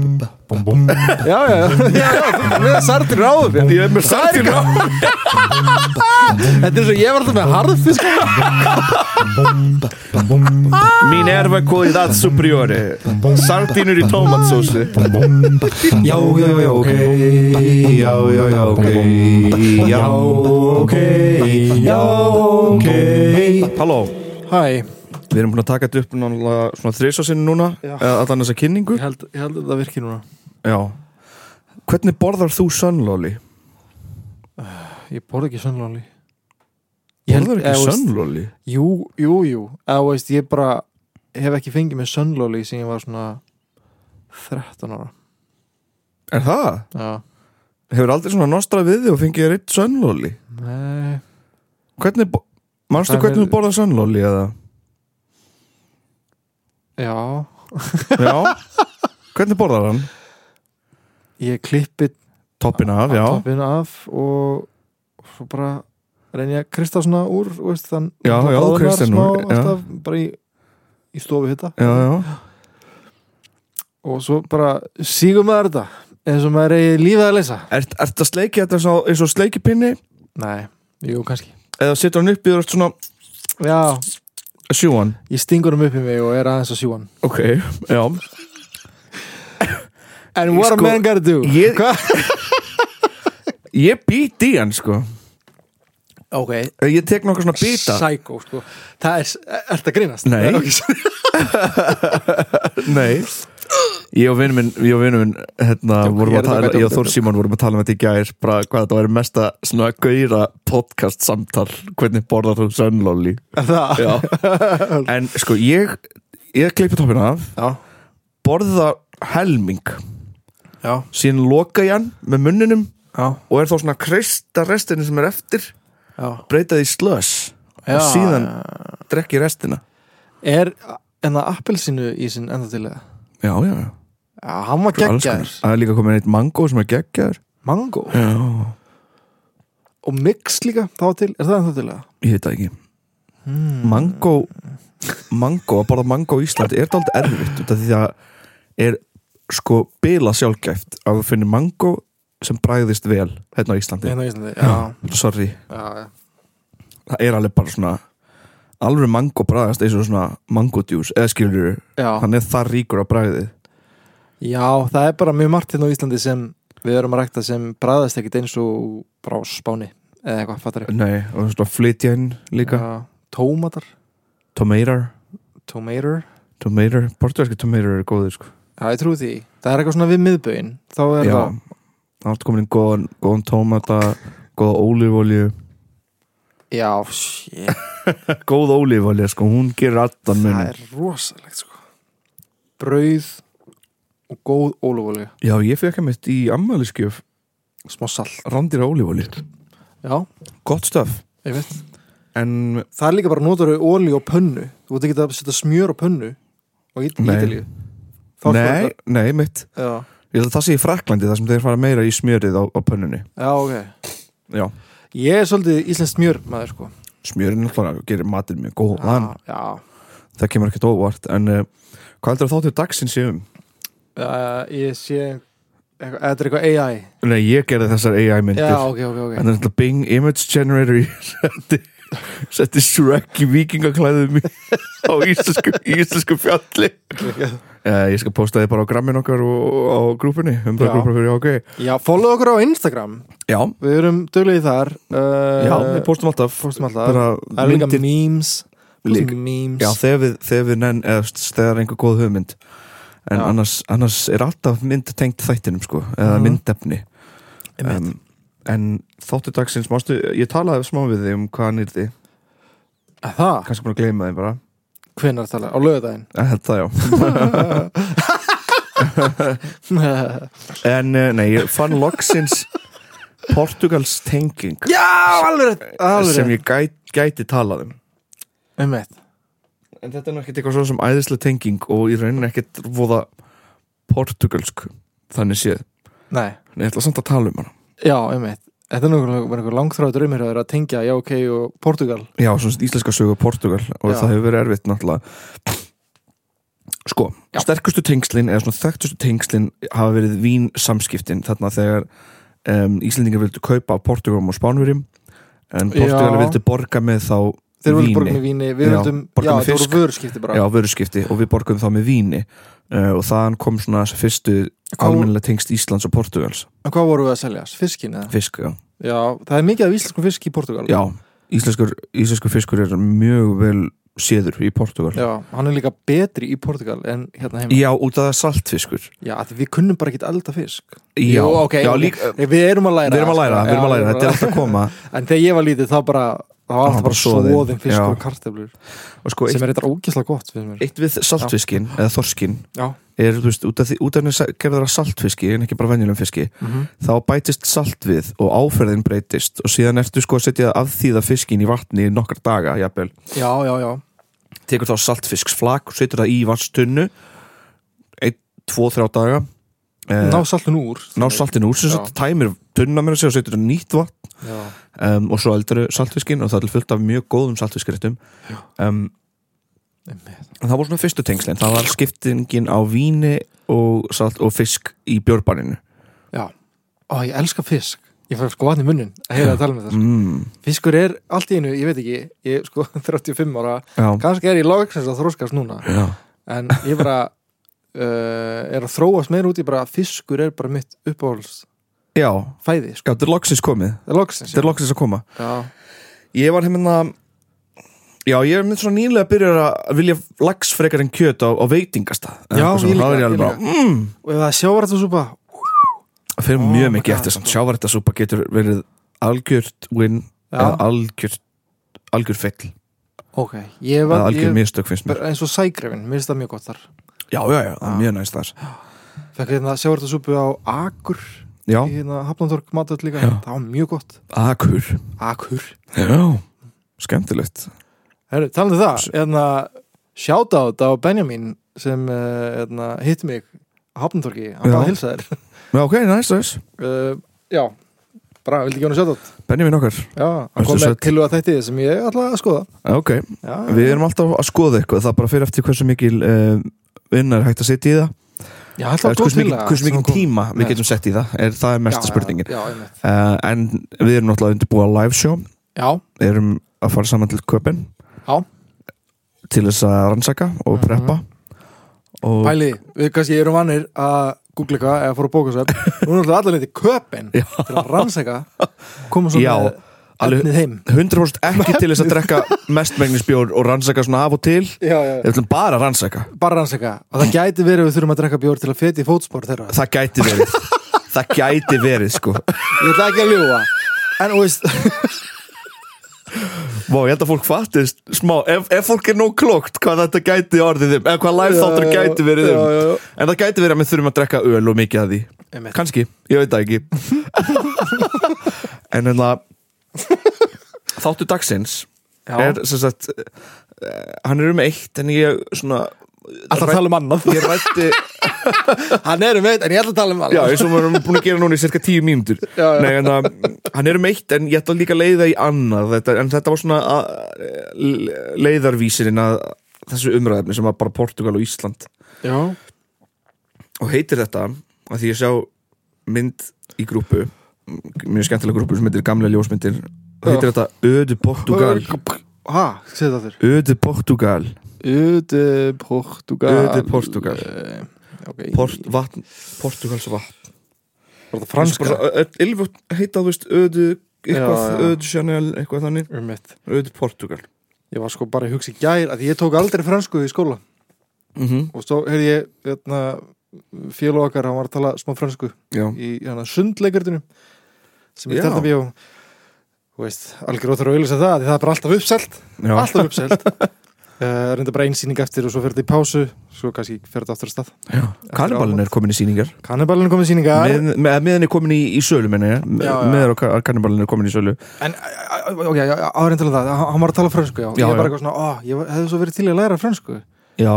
Já, já, já, já Við erum sartir ráðu fyrir Ég er með sættir Þetta er svo, ég var alltaf með harðfisk Mín erfa kvalitat superiori Sardínur í tómatsósi Já, já, já, ok Já, já, já, ok Já, ok Já, ok Halló Hæ, Við erum búin að taka þetta upp náttúrulega svona þrisasinn núna Já. eða allan þessa kynningu ég held, ég held að það virki núna Já Hvernig borðar þú sönlóli? Ég borði ekki sönnlóli Borðar ekki sönlóli? Jú, jú, jú Eða, þú veist, ég bara hef ekki fengið með sönnlóli sem ég var svona 13 ára Er það? Já, Hefur aldrei svona nostrað við þig og fengið þér eitt sönlóli? nei Hvernig, bo- manstu Það hvernig er- þú borðar sönlóli eða? Já, Já Hvernig borðar hann? ég klippi Toppin af, já toppin af og og svo bara reyni ég að krysta svona úr þú veist, þann Já, þann já, bráðnar Kristján smá úr, já. alltaf, bara í, í stofu hitta Já, já og svo bara sígum maður þetta eins og maður eigi lífið að leysa Ert, ert að sleiki þetta svo- eins og sleikipinni Nei, jú, kannski eða setur hann upp í þú ert svona Já, að sjú hann ég stingur um upp í mig og er aðeins að sjúan Ok, já And what Sko, a man gotta do ég- Hva? Ég být í hann sko Ok, Ég tek nokkar svona bita psycho sko. Það er, er þetta grínast? Nei. Ok, sorry. Nei Ég og vinnum minn, ég og vinnum minn hérna, Jók, vorum ég er að að tala, taka ég og þetta. Þór Símon vorum að tala um þetta í gær bara hvað þetta væri mesta svona gauðra podcast samtal hvernig borðar þú sönlóli Er Það Já En sko ég ég klippi toppin af Já, borða helming já, síðan loka ég hann með munninum já, og er þá svona að kreista restinni sem er eftir já. breyta því slöss og Já, síðan já. drekk ég restina Er hérna, en það appelsinu í sinn enda til það? Já, já, já Já, hann var Alls konar. geggjar Það er líka komin eitt mango sem er geggjaður Mango Já, og mix líka þá til, er það ennþá til það? ég veit það ekki Mango Mango, að borða mango í Íslandi er það aldrei erfitt út af því að er sko bila sjálfgæft að þú finnir mango sem bræðist vel hérna á Íslandi Hérna á Íslandi, já, Sorry, já, já. það er alveg bara svona alveg mango bræðast eins og svona mango juice eða skilur já hann er það ríkur á bræðið Já, það er bara mjög margt hérna á Íslandi sem við erum að rækta sem bræðast ekkit eins og brá spáni eða eitthvað, fattar ég Nei, og svona flytja inn líka Já, Tómatar, Tomater, tomator tomater, portugalski tomater er góðið sko Já, ég trúi því, það er eitthvað svona við miðbögin þá er Já, það, það er komin inn góðan, góðan tómata, góða ólífólju já, shit Góð ólífólja, sko, hún gerir allan það mun er rosalegt sko Brauð og góð ólúfólju, Já, ég fekk að mitt í ammæliskjöf smá salt randýra ólífólju Já, Gott stöf ég veit En, Það er líka bara notar þau óli og pönnu Þú veit ekki að setja smjör á pönnu og ít Nei. ítalíu nei, nei, mitt Já, Ég held að það sé í Fraklandi, þar sem þeir fara meira í smjörið á, á pönnunni já ok Já, Ég er svolítið íslenskt smjör maður sko smjörið náttúrulega gerir matinn mjög góðan Já, já Það kemur ekkert óvart En uh, hvað heldur þáttir dagsins ég um? uh, Ég sé eitthvað, Þetta er eitthvað AI Nei, ég gerði þessar AI myndir Já, ok, ok, En ok það er alltaf Bing Image Generator í- setti, setti Shrek í vikingaklæðið mér á íslensku, í íslensku fjalli uh, Ég skal posta þið bara á grammin okkar og, og á grúpunni um Já. bara grúpunni fyrir OK Já, follow okkur á Instagram Já, Við erum duglegið þar uh, já, við postum alltaf Postum alltaf Eh, bara Það er líka myndir- memes Líka. Postum Memes Já, þegar við, þegar við nenn eða st- þegar er einhver góð hugmynd En Já. annars, annars er alltaf mynd tengt þættinum sko, eða Mhm. myndefni Einmitt. um, En þáttu dagsins, mástu, ég talaði smá við þig um hvað hann yrði Það, Kannski búin að gleyma þeim bara hvenær tala, á lögudaginn Ég held það já En uh, nei, ég fann loksins Portugals tenging Já, alveg rétt, alveg sem rétt ég gæt, gæti talað um Einmitt. En þetta er nú ekkert eitthvað svona sem æðislega tenging og ég raunin ekkert voða portugalsk þannig séð Nei En ég ætla samt að tala um hana Já, einmitt. Þetta er náttúrulega langþráður draumir að vera að tengja, já, ok, og Portugal. Já, svona íslenska sögu Portugal og Já. það hefur verið erfitt náttúrulega sko, sterkustu tengslin eða svona þekktustu tengslin hafa verið vín samskiptin þarna þegar um, Íslendingar vildu kaupa af Portugálum og Spánverjum en Já. Portugali vildu borga með þá Þeir voru víni. borgum í víni, við Já, vildum, já, borga með það voru fisk. vöruskipti bara Já, vöruskipti og við borgum þá með víni uh, og þaðan kom svona þessi fyrstu Hvað- almennilega tengst Íslands og Portugals En hvað voru við að selja? Fiskin eða? fisk, já, Já, það er mikið af íslenskum fisk í Portugal já íslenskur, íslenskur fiskur er mjög vel séður í Portugal Já, hann er líka betri í Portugal en hérna heima Já, út af það er saltfiskur Já, af því við kunnum bara ekkert elda fisk Já, Jú, ok, já, ok. líka, Nei, Við erum að læra við erum að sko. læra, við erum að Já, læra, þetta er alltaf að koma En þegar ég var lítið þá bara Það var Hann alltaf bara bara soðinn. svoðin fisk Já. og karteflur og sko, Sem eitt, er eitthvað ógæslega gott finnst mér. eitt við saltfiskin eða þorskin Já, er, þú veist, út af því, út af því gerður það saltfiski en ekki bara venjulegum fiski Mhm. þá bætist salt við og áferðin breytist og síðan ertu sko að setja að þýða fiskin í vatni í nokkar daga, jafnvel já, já, já. tekur þá saltfisksflak og setur það í vatstunnu einn, tvo, þrjá daga eh, Ná saltun úr ná saltinu úr sem Já. sagt, tæmir tunna mér að segja og setur það nýtt vatn Já, um, og svo eldru saltfiskin og það er fullt af mjög góðum saltfiskréttum um, einmitt. en það voru svona fyrstu tengslin það var skiptingin á víni og salt og fisk í björbarninu já Ó, ég elska fisk Ég fæ sko vatn í munnin að heyra að tala með það sko. mm, Fiskur er allt í einu, ég veit ekki Ég er sko 35 ára já, Kannski er ég lágsins að þróskast núna já, En ég bara uh, Er að þróast meira út í bara Fiskur er bara mitt uppáhalds já, fæði sko. já, þetta er loksins komið Það er loksins þetta er loksins að koma Já, ég var hefna Já, ég er mynd svona nýlega að byrja að vilja lags frekar en kjöt á, á veitingastað Já, Eitthvað ég svona, líka, þá er ég ég alveg bara, mm, og ef það er sjávartasúpa Það fyrir Oh mjög my mikið God, eftir samt sko. Sjávartasúpa getur verið algjört win Já. eða algjört algjör fell, Ok, ég eða var algjör ég, mistök finnst mér Ah. eins og sægrefin, mér finnst það mjög gott þar Já, já, já, það er Já. mjög næst þar Fekk hérna sjávartasúpu á Akur Já, í hérna Hafnandorg matöld líka Já. það var mjög gott akur Akur Já, skemmtilegt Herru, talaðu um það, hérna shoutout á Benjamin sem eh, hérna, hitt mig á Hafnandorgi, hann Já. bara hilsa þér Já, ok, næst þess uh, Já, bara, vildi ekki hann shoutout Benjamin okkar, Já, hann Vertu kom með sæll. til að þetta sem ég ætla að skoða Já, ok Já, Við erum alltaf að skoða eitthvað, það bara fyrir eftir hversu mikil uh, vinnar hægt að setja í það Já, hann ætla Eða að góð hversu til mikil, hversu mikil tíma Já. við getum sett í það er, Það er mesta spurningin Já, já, einmitt. uh, En við erum náttúrulega að undirbúa live show já, erum að fara saman til köpinn Já. til þess að rannsaka og Mhm. preppa og Pæli, við kannski erum vannir að googla eitthvað eða fóra bókasöp Nú erum við allar neitt í köpin Já. til að rannsaka koma svo Já, með alveg- efnið heim 100% ekki til þess að drekka mestmengnisbjór og rannsaka svona af og til já, já. við ætlum bara að rannsaka Bara rannsaka og það gæti verið að við þurfum að drekka bjór til að feti í fótspor þeirra það gæti verið það gæti verið sko Ég ætla ekki að ljúga En þú veist, Vá, ég held að fólk fattist smá ef, ef fólk er nóg klokt hvað þetta gæti orðið þeim eða hvað live þáttur Já, já, gæti verið já, þeim já, já. en það gæti verið að við þurfum að drekka öl og mikið af því Einmitt. kannski, ég veit það ekki en en það þáttu dagsins já, er sem sagt eh, hann er um eitt en ég svona alltaf að tala um annað ég rætti, Hann er um eitt en ég ætla að tala um já annað eins og við erum búin að gera núna í cirka tíu mínútur Já, já. Nei, en, að, hann er um eitt en ég ætla líka að leiða í annað þetta, en þetta var svona að, eh, leiðarvísirinn að þessu umræðefni sem var bara Portugal og Ísland Já, og heitir þetta að því ég sjá mynd í grúpu mjög skemmtilega grúpu sem heitir gamlega ljósmyndir og heitir þetta Ödu Portugal Ha, segðu það þurr Ödu Portugal Öde Portugal Öde Portugal. Eh, Ok, Port, vatn, Portugals vatn var það Bara franska svo- ö- ö- Ylfur heita, þú veist, öðu eitthvað, Já, já. öðu Chanel, eitthvað þannig Um eitt öðu Portugal Ég var sko bara í hugsi í gær að ég tók aldrei fransku í skóla mm -hmm. og svo heyrði ég hérna, félag okkar, hann var að tala smá fransku Já, í hérna, sundleikertinu sem Já. ég stærta bíó þú veist, algjör óþur að auðvitað það því það er bara alltaf uppselt, já, alltaf uppselt uh, reynda bara einsýning eftir og svo fer þetta í pásu svo kannski fer þetta aftur að stað já. Kannibalin er komin í sýningar Kannibalinn komið sýningar Með- með- meðan er komin í, í sölu, menna ég Já, já. meðan og kannibalin er komin í sölu en eh, ok, áreynda það, hann hann var að tala fransku já, ég Já, er já. bara eitthvað svona, ó, ég var- hefði svo verið til í að læra fransku Já,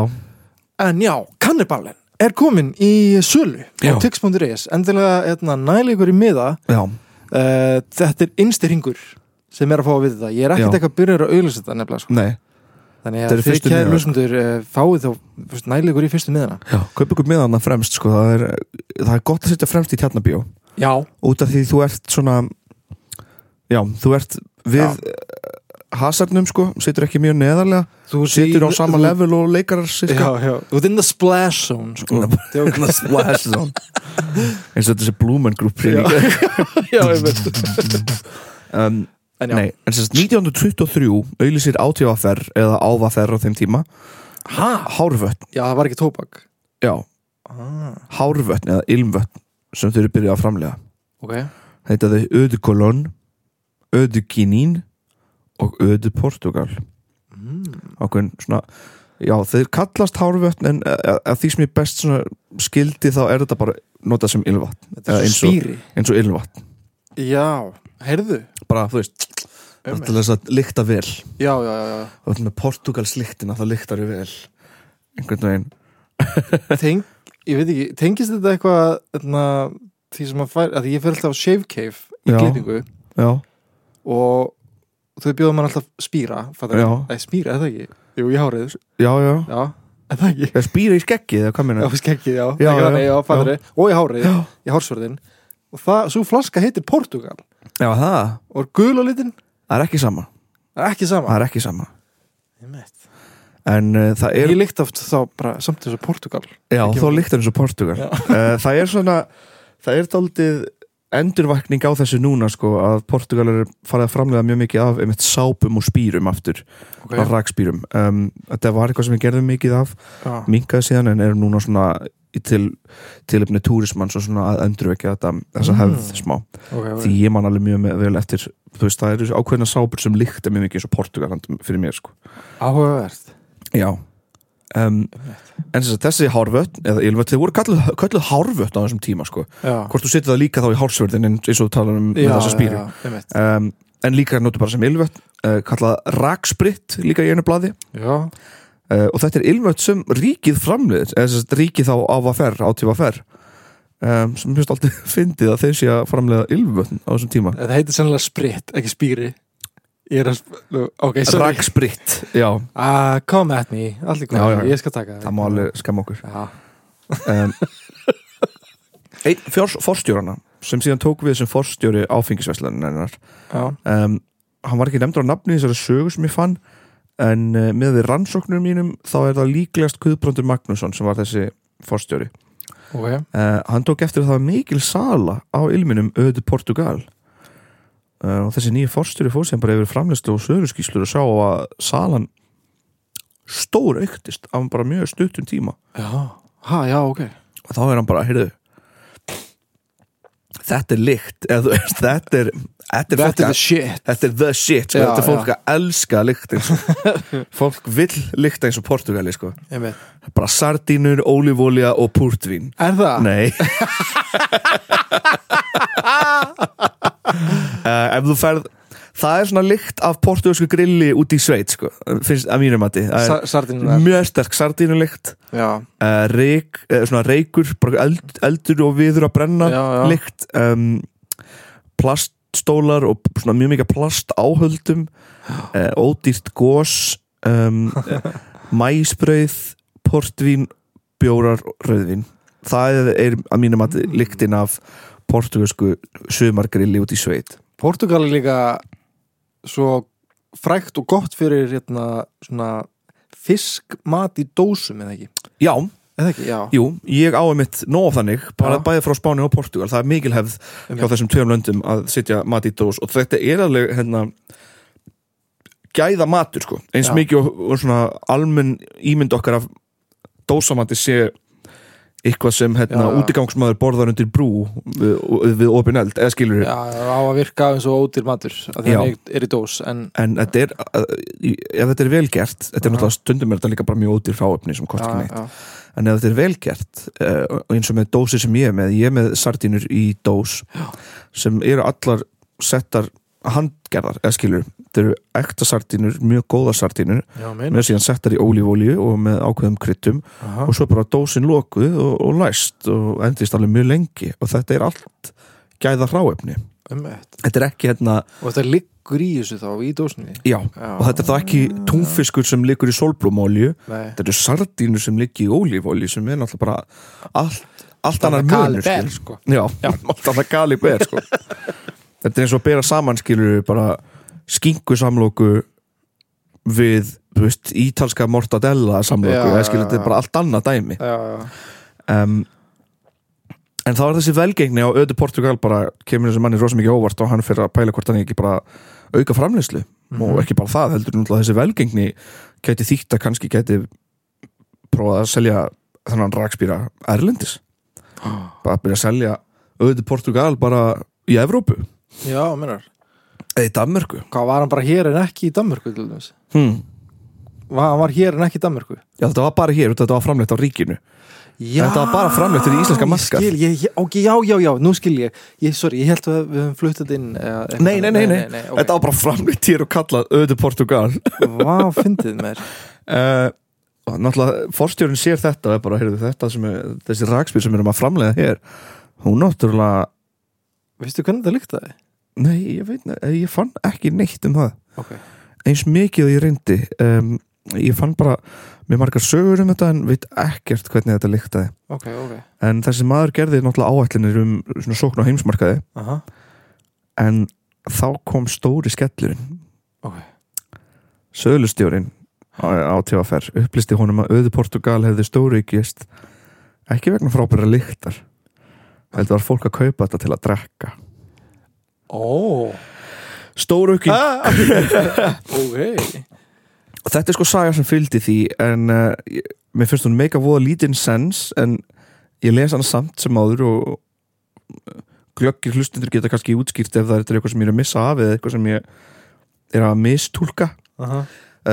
En já, kannibalinn er komin í sölu Já. á tix.is endilega hérna, næli ykkur í miða já, uh, þetta er innstyrringur sem er að fá að vita þetta ég er ekkert Já. eitthvað byrjar að auðlýsa þetta nefnilega sko. nei Þannig Þetta að eru þið fyrstu kæri miðar. hlustendur eh, fáið þá nælið ykkur í fyrstu miðana Já, kaup ykkur miðana fremst sko, það, er, það er gott að setja fremst í tjarnabíó Já, út af því þú ert svona já, þú ert við Já. já. hasarnum sko, situr ekki mjög neðarlega þú situr á sama þú- level og leikarar Já, sirka já, þú ert in the splash zone sko. Djók. splash zone eins og þetta sé Blumen Group Já. sýning. já, ég veit um, En já, nei, en sérst 1923 auðlýsir átífafer eða ávafer á þeim tíma ha? hárvötn, já það var ekki tóbak já, ah, hárvötn eða ilmvötn sem þau eru byrjað að framlega Ok, heita þau Ödu Kolón Ödu Kínín og Ödu Portugal mm. ákveðin svona já þeir kallast hárvötn en að, að því sem ég best svona skildi þá er þetta bara notað sem ylvatn þetta Eh, er eins svo og- spýri eins og ylvatn Já, heyrðu bara þú veist það er einmitt. til þess að lykta vel og Já, já, já, já þetta með Portugals lyktina þá lyktar þau vel einhvern veginn Teng, Ég veit ekki, tengist þetta eitthvað þarna, því sem að fær, að ég fer alltaf á Shave Cave í Já. klippingu já og þau bjóðum mann alltaf spýra fattar Já. við? Nei, spýra, er það ekki? Jú, ég hárið, já já já, er það ekki? það spýra í skeggið eða hvað Já, minna skeggið, já, Já, já, já, já, já, já, já. og í hárið, Já. í hársverðin og það, svo flaska heitir Portugal já það og er gul á litin, það er ekki sama það er ekki sama það er ekki sama Einmitt. en uh, það er Ég líkt oft þá bara samt þessu Portugal Já, Ekki þá um- líktar eins og Portugal Já. uh, Það er svona Það er daldið endurvakning á þessu núna sko, að Portugal er farið að framlega mjög mikið af einmitt sápum og spýrum aftur okay. okay. rakspýrum um, Þetta var eitthvað sem við gerðum mikið af já. minkaði síðan en er núna svona í til, tilöfni túrismann svo svona að endurvekja þetta þessa Mm. hefð smá Okay, okay. því ég man alveg mjög með, vel eftir þú veist, það eru ákveðna sápur sem líkta mjög mikið eins og Portugaland fyrir mér sko Áhugavert Já um, En sem sagt, þessi hárvötn eða ylvötn, þeir voru kalluð, kalluð hárvötn á þessum tíma sko. Já, hvort þú setur það líka þá í hársvörðin eins og þú talar um með já, þessa spýru já, einmitt. um, en líka notu bara sem ylvötn uh, kallað rakspritt líka í einu blaði já, uh, og þetta er ylvötn sem ríkið framliðir eða sem sagt, ríkið þá á að fer, átífa fer um, sem mjög alltaf fyndið að þeir sé að framlega ylvötn á þessum tíma þetta heitir sennilega spritt, ekki spýri Ég er að, sp- nú, ok, sorry rakspritt, já, Ah, come at me, allir Já, já. góð, ég skal taka það má alveg skemma okkur Já, um, einn fjórs, forstjórana sem síðan tók við sem forstjóri áfengisveslaninarnar já, um, hann var ekki nefndur á nafni í þessari sögu sem ég fann en uh, með við rannsóknum mínum þá er það líklegast Guðbrandur Magnússon sem var þessi forstjóri ok uh, hann tók eftir að það var mikil sala á ilminum öðu Portugal uh, og þessi nýja forstjóri fór sem bara yfir framleyslu og sögurskíslur og sjá að salan stór auktist af bara mjög stuttum tíma Já, ha, já, ok og þá er hann bara, heyrðu þetta er lykt eða þú veist, þetta er þetta er, fólk Þetta er að- the shit þetta er the shit sko. Já, þetta er fólk já. að elska lykt eins og fólk vill lykt eins og Portugali sko. einmitt. bara sardínur, ólífólja og púrtvín Er það? Nei Eh, uh, Ef þú ferð Það er svona lykt af portugalsku grilli út í sveit sko, finnst að mínum mati Það er Sa Sardinunar Mjög sterk sardínulykt Já, uh, reik, uh, svona reikur bara eld, eldur og viður að brenna já, já líkt um, plaststólar og svona mjög mikið plast áhöldum uh, ódýrt gós um, mæsbrauð portvín, bjórar og rauðvín það er að mínum að líktin af portugalsku sumargrilli út í sveit Portugal er líka svo frækt og gott fyrir hérna svona fiskmat í dósum eða ekki Já, eða ekki, já, jú, ég áið mitt nóg þannig, bara Já. bæði frá Spáni og Portugal það er mikil hefð hjá þessum tveim löndum að sitja mat í dós og þetta er alveg hérna gæða matur sko, eins Já. mikið og, og svona almenn ímynd okkar af dósamati sé eitthvað sem hérna Já, já. útigangsmaður borðar undir brú við, við opin eld, eða skilur já, á að virka eins og ódýr matur að Já. það er í dós en en þetta er, að- í- ef þetta er vel gert þetta er náttúrulega stundum er þetta líka bara mjög ódýr fráöfni sem kostar ekki neitt, já, en ef þetta er vel gert eh, og eins og með dósir sem ég er með ég er með sardínur í dós sem eru allar settar handgerðar, eða skilur þetta eru ekta sardínur, mjög góða sardínur já, minn með síðan settar í ólífólíu og með ákveðum kryttum Aha. og svo bara dósin lokuð og, og læst og endist alveg mjög lengi og þetta er allt gæða hráefni Einmitt. þetta er ekki hérna og þetta ligg fiskur í þessu þá í dósinni Já, og þetta er þá ekki túnfiskur sem liggur í solblómolju Nei. þetta eru sardínu sem liggur í ólífolju sem er náttúrulega bara allt, allt annar annað munur kaliber, skilur. sko. Já, allt annar kaliber sko. Þetta er eins og að bera saman skilur bara skinku samlóku við þú veist, ítalska mortadella Já, samlóku já, eða skilur, þetta já. er bara allt annað dæmi Já, já, um, en þá er þessi velgengni á öðu Portugal bara kemur þessi manni rosa mikið á óvart og hann fyrir að pæla hvort hann ekki bara auka framleyslu Mhm. og ekki bara það heldur náttúrulega þessi velgengni gæti þýtt að kannski gæti prófað að selja þannan rakspýra erlendis Ah. bara að byrja að selja öðu Portugal bara í Evrópu já, minnar eða í Danmörku Hvað var hann bara hér en ekki í Danmörku til þess? hmm. Var hann var hér en ekki í Danmörku? Já, þetta var bara hér, þetta var framleitt á ríkinu Já, Þetta var bara framleitt fyrir íslenska markað. ég skil, ég, ég, ok, já, já, já, nú skil ég, ég Sorry, ég held að við höfum fluttat inn eða, eitthvað. Nei, nei, nei, nei, ok. þetta var bara framleitt hér og kallað öðu Portugal Vá, fyndið mér uh, og náttúrulega forstjórinn sér þetta og er bara, heyrðu þetta sem er, þessi rakspýr sem erum að framleiða hér hún náttúrulega, Veistu hvernig þetta líktaði? nei ég veit ne- eh, ég fann ekki neitt um það Ok, eins mikið og ég reyndi um, ég fann bara, mér margar sögur um þetta en veit ekkert hvernig þetta líktaði ok, ok en þessi maður gerði náttúrulega áætlinir um svona sókn á heimsmarkaði Aha, en þá kom stóri skellurinn ok Sölustjórin á, á TFR upplýsti honum að auðu Portugal hefði stóruíkist ekki vegna frábæra lyktar heldur var fólk að kaupa þetta til að drekka Ó, Stóruíking, ah, ok þetta er sko saga sem fylgdi því en uh, ég- mér finnst hún meika voða lítinn sens en ég les hana samt sem áður og uh, glöggir hlustundur geta kannski útskýrt ef það er eitthvað sem ég er að missa af eða eitthvað sem ég er að mistúlka Aha.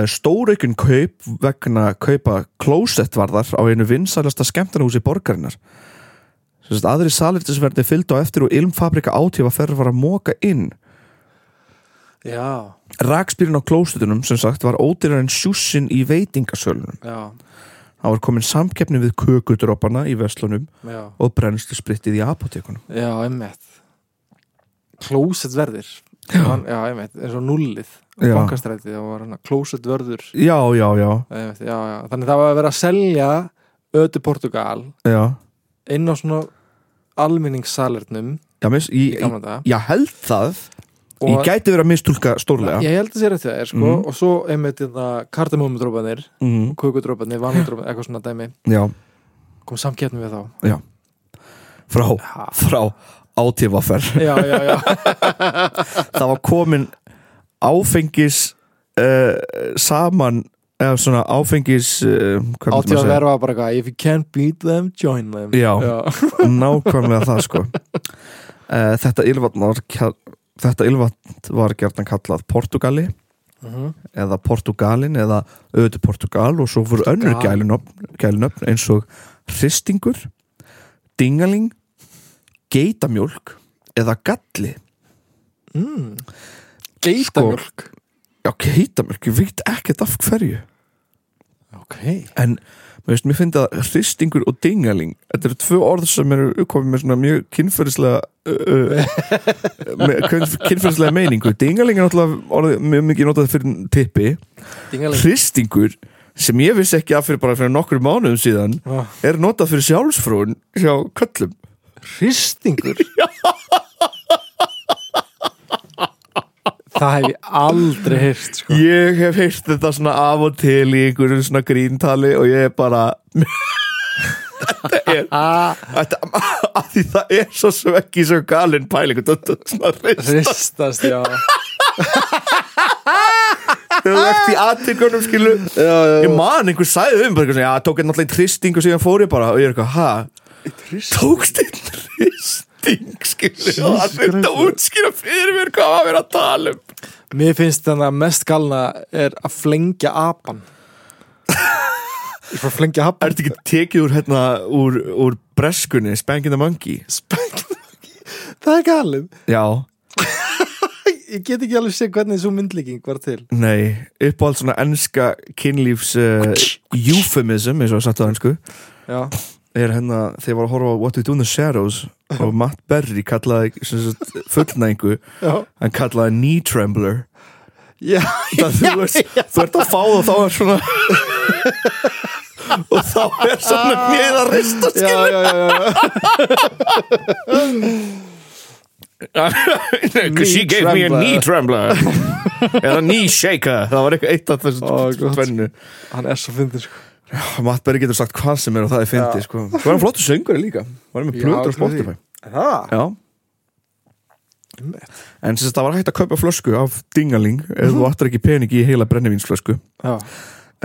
stóraukun kaup vegna kaupa klósettvarðar á einu vinsælasta skemmtanahúsi borgarinnar sem sagt aðri saliftisverði fylgdu á eftir og ilmfabrika átífa ferð var að móka inn Já, rakspýrin á klósettunum sem sagt var ódýrar en sjússin í veitingasölunum já, það var komin samkeppni við kökudropana í veslunum já og brennslu sprittið í apotekunum Já, einmitt Klósetverðir Hann- Já, einmitt, eins og nullið Já. Bankastrætið, það var hann klósetverður já, já, já, einmitt, já, já. Þannig það var að vera að selja Ötu Portugal já, inn á svona almenningssalernum já mis, í ég, ég, gamla dag ég held það ég Og- gæti verið að mistúlka stórlega Ég held að sér eftir það er sko Mhm. og svo einmitt hérna kardamómudrópanir mm, kukudrópanir, vanudrópanir, eitthvað svona dæmi já, kom samkeppnum við þá frá, Ha. frá átífa ferð Já, já, já, það var komin áfengis uh, saman eða svona áfengis uh, hvað myndi átti maður að segja? verfa bara eitthvað If you can't beat them, join them Já. já, nákvæmlega það sko uh, þetta ylvatn var kall- þetta ylvatn var gertan kallað Portugali Mhm. eða Portugalin eða auðvitað Portugal og svo voru önnur Portugal. gælunöfn, gælunöfn eins og hristingur dingaling geitamjólk eða galli Mm. Geitamjölk já geitamjólk, ég veit ekkert af hverju Ok en mér finnst, mér finnst að hristingur og dingaling þetta eru tvö orð sem eru komið með svona mjög kynferðislega uh, uh, með kyn- kynferðislega meiningu dingaling er náttúrulega orðið mjög mikið notað fyrir tippi Dingaling hristingur sem ég vissi ekki af fyrir bara fyrir nokkur mánuðum síðan Ah. er notað fyrir sjálfsfrún hjá köllum Hristingur Það hef ég aldrei heyrt sko. ég hef heyrt þetta svona af og til í einhverjum svona gríntali og ég er bara þetta er ah, þetta, að því það er svo sem ekki svo galin pæling þetta er svona hrist Hristast, já Þegar þú ert í aðtökunum skilu Ég man einhver sæði um bara, eitthvað svona, Já, tók ég náttúrulega einn tristing og síðan fór ég bara Og ég er eitthvað, ha? Tókst einn tristing skilu Og það er þetta útskýra fyrir mér Hvað var að vera að tala um Mér finnst þannig að mest galna er að flengja apan Ég fór að flengja apan Ertu ekki tekið úr, hérna, úr, úr breskunni Spanking the Monkey? Spengt Það er galið Já, Ég get ekki alveg sé hvernig þessu myndlíking var til nei eh, Uppáhald svona enska kynlífs uh, Euphemism, eins og sagt á ennsku Já, er hérna, þegar ég var að horfa á What We Do in the Shadows og Matt Berry kallaði sem sagt, fullnæðingu, já, hann kallaði knee trembler já, það, þú, veist, þú ert að fá það og þá er svona og þá er svona mér að rista já, já, já, já. she gave me a knee trembler eða knee shaker það var eitthvað eitt af þessu Ó, gott. tvennu hann er svo fyndið sko. Matt Berry getur sagt hvað sem er og það er fyndi sko. Svo er hann flottu söngari líka var hann með Já, plötur á trúi því. Spotify það, Já En sem sagt, það var hægt að kaupa flösku af dingaling ef Mhm. þú áttar ekki pening í heila brennivínsflösku já,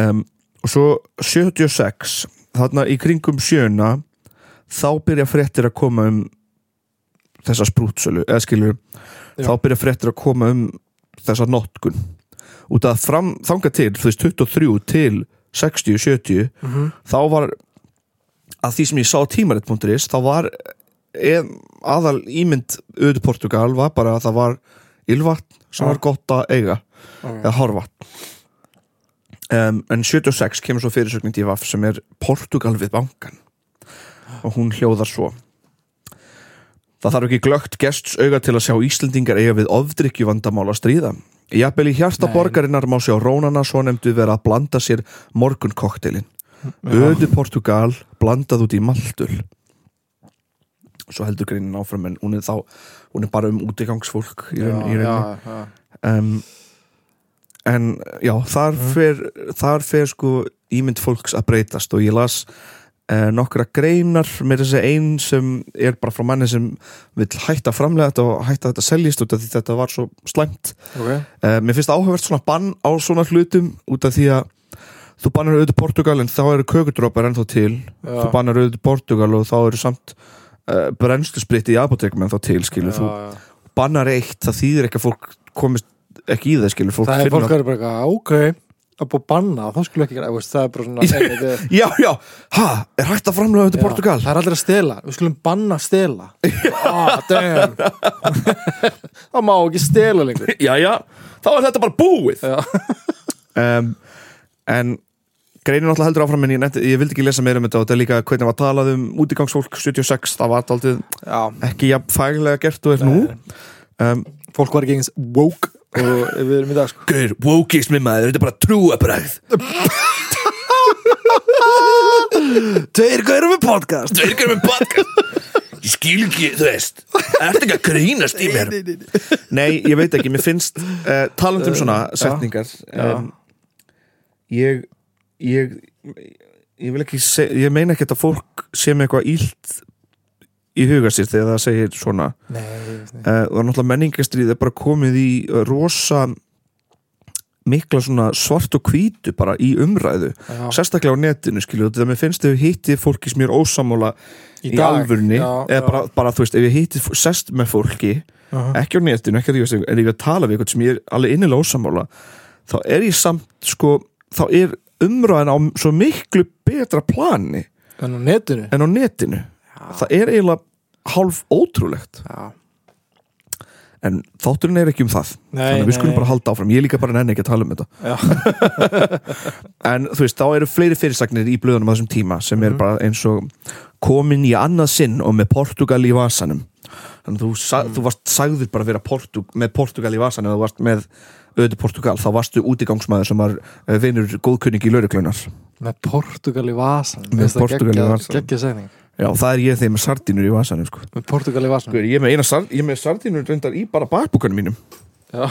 um, og svo 76 þarna í kringum sjöna þá byrja fréttir að koma um þessa sprútsölu eða skilur, Já. þá byrja fréttir að koma um þessa notkun út að fram, þanga til, þú veist 23 til 60, 70 Mhm. þá var að því sem ég sá á tímarit.is þá var eð, aðal ímynd auðvitað Portugal var bara að það var ylvatn sem Já. var gott að eiga ok. eða hárvatn um, en 76 kemur svo fyrirsögning til Vaf sem er Portugal við bankan og hún hljóðar svo Það þarf ekki glögt gests auga til að sjá Íslendingar eiga við ofdrykju vandamál að stríða Jafnvel í hjarta Nei. borgarinnar má sjá rónana svo nefndu vera að blanda sér morgun koktelin Mm. Öðu Portugal blandað út í Maltul Svo heldur greinin áfram en hún er þá hún er bara um útigangsfólk í raun, í já, rauninni já, já. um, en já, þar Mm. fer þar fer sko ímynd fólks að breytast og ég las uh, nokkra greinar með þessi ein sem er bara frá manni sem vill hætta að framlega þetta og hætta að þetta seljist út af því þetta var svo slæmt ok, uh, mér finnst áhugavert svona bann á svona hlutum út af því að þú bannar auðvitað Portugal en þá eru kökudrópar ennþá til já þú bannar auðvitað Portugal og þá eru samt uh, brennsluspritti í apotekum ennþá til skilur þú já, já. bannar eitt það þýðir ekki að fólk komist ekki í það skilur fólk það er fólk finnur að- að bara eitthvað, ok að búið að banna, þá skulle ekki gera þú veist, það er bara svona Ég- nei, þetta er- já, já, ha, er hægt að framlega Já, til Portugal það er allir að stela, við skulum banna að stela ah, damn það má ekki stela lengur já, já, þá er þetta bara búið Já. um, en greinin alltaf heldur áfram en ég, nefndi, ég vildi ekki lesa meira um þetta og þetta er líka hvernig var talað um útigangsfólk 76, það var aldrei já, ekki jafn faglega gert og er nú um, fólk var ekki eins woke og við erum í dag sko Gaur, wokeismi maður, þetta er bara trúabræð Tveir gaurum við podcast Tveirgar með podcast Ég skil ekki, þú veist Ertu ekki að grínast í mér Nei, ég veit ekki, mér finnst uh, Eh, talandum svona setningar um, ég, ég ég vil ekki seg, ég meina ekki að fólk sé með eitthvað ílt í huga sér þegar það segir svona nei, uh, og náttúrulega menningastrið er bara komið í eh, rosa mikla svona svart og hvítu bara í umræðu já, sérstaklega á netinu skilju þetta mér finnst ef ég hitti fólki sem ég er ósammála í, í dag. alvörni já, eða bara, bara þú veist ef ég hitti f- sest með fólki já, ekki á netinu, ekki að rífast en ég er að tala við eitthvað sem ég er alveg innilega ósammála þá er ég samt sko þá er umræðan á svo miklu betra plani en á netinu en á netinu já, það er eiginlega hálf ótrúlegt já. en þátturinn er ekki um það Nei, þannig að við nei, skulum nei. bara halda áfram ég er líka bara nenni ekki að tala um Já. þetta en þú veist, þá eru fleiri fyrirsagnir í blöðunum á þessum tíma sem er bara eins og komin í annað sinn og með Portugal í vasanum þannig að þú, sa þú varst sagður bara að vera Portug með Portugal í vasanum eða þú varst með auðvitað Portugal, þá varstu útigangsmaður sem var eh, vinur góðkunningi í lauruglunar með Portugal í vasan Með Portúgal í vasanum. geggja segning já, það er ég þegar með sardínur í vasanum sko. með Portugal í vasan Guð, ég er með, eina sard- ég er með sardínur reyndar í bara bakbúkanum mínum já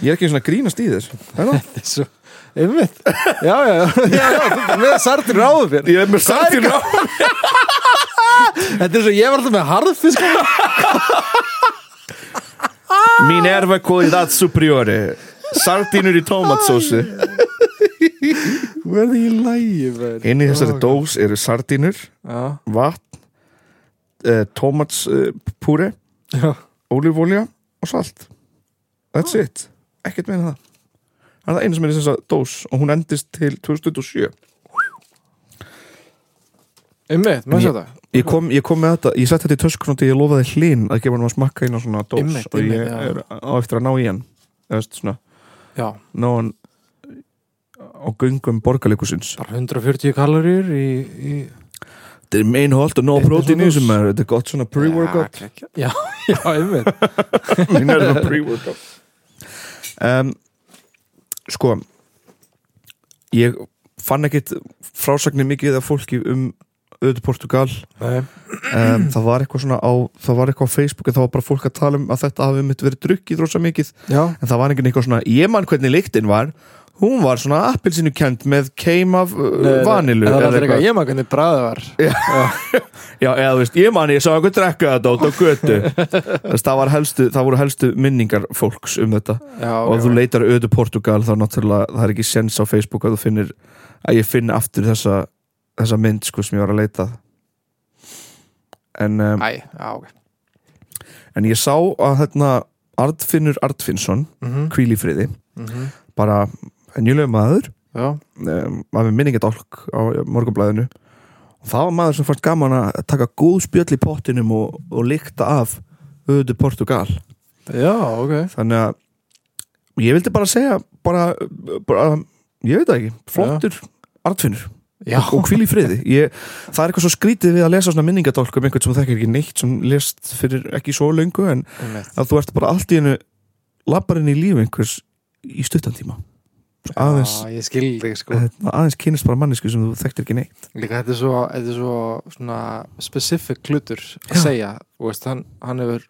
ég er ekki einu sinni að grínast í þess það er það Þessu, einmitt Já, já, já, já, já þú- með sartir ráðu fyrir Ég er með sardínu á Þetta er svo, ég var alltaf með harðfisk Mín erfa kvalitat superiori Sardínur í tómatsósu Þú er það í lægi, verður Inn í þessari dós eru sardínur Já, Vatn eh, Tómatspúri eh, já, Ólífólja og salt That's it Ekkert meina það Það er það einu sem er í þessa dós Og hún endist til 2007 einmitt, maður sér það Ég kom, ég kom með þetta, ég sett þetta í töskun og því ég lofaði hlinn að gefa hann að smakka inn á svona dós Einmitt, og ég einmitt, já. er á eftir að ná í hann eða veist, svona, Já, ná hann á göngum borgarleikusins bara 140 kaloríur í, í þetta er meinholt og nóg Þetta er prótín í svona- þessum maður. þetta er gott svona pre-workout já, já, einmitt Mín er það pre-workout um, Sko Ég fann ekkit frásagnir mikið af fólki um auðvitað Portugal Nei. um, Það var eitthvað svona á það var eitthvað á Facebook en það var bara fólk að tala um að þetta hafi mitt verið drukkið rosa mikið já, en það var enginn eitthvað svona, ég man hvernig lyktin var hún var svona appilsinu kent með keim af uh, vanilu eða eða það er eitthvað. eitthvað ég maður hvernig bræða var Já, eða þú veist, ég man ég sá einhver drekka þetta út á götu Þess, það, var helstu, það voru helstu minningar fólks um þetta já, og ef þú já, leitar auðu Portugal þá náttúrulega það er ekki sens á Facebook að þú finnir að ég finn aftur þessa, þessa mynd sko sem ég var að leita að. en, um, æ, já, ok en ég sá að hérna Arnfinnur Arnfinnsson mhm, kvílífriði, mhm, bara nýlega maður já, um, að við minningi dálk á morgunblæðinu og það var maður sem fannst gaman að taka góð spjöll í pottinum og, og líkta af auðu Portugal já, ok þannig að ég vildi bara segja bara, bara ég veit það ekki, flottur artfinnur já, og hvíl í friði ég, það er eitthvað svo skrítið við að lesa svona minningadálk um einhvern sem þú þekkir ekki neitt sem lest fyrir ekki svo löngu en einmitt að þú ert bara allt í einu labbar inn í lífi einhvers í stuttan tíma Svo aðeins, Já, ég skil þig sko hérna, aðeins kynist bara mannesku sem þú þekktir ekki neitt Líka þetta er svo, þetta er svo svona specific hlutur að Já. segja og veist, hann, hann hefur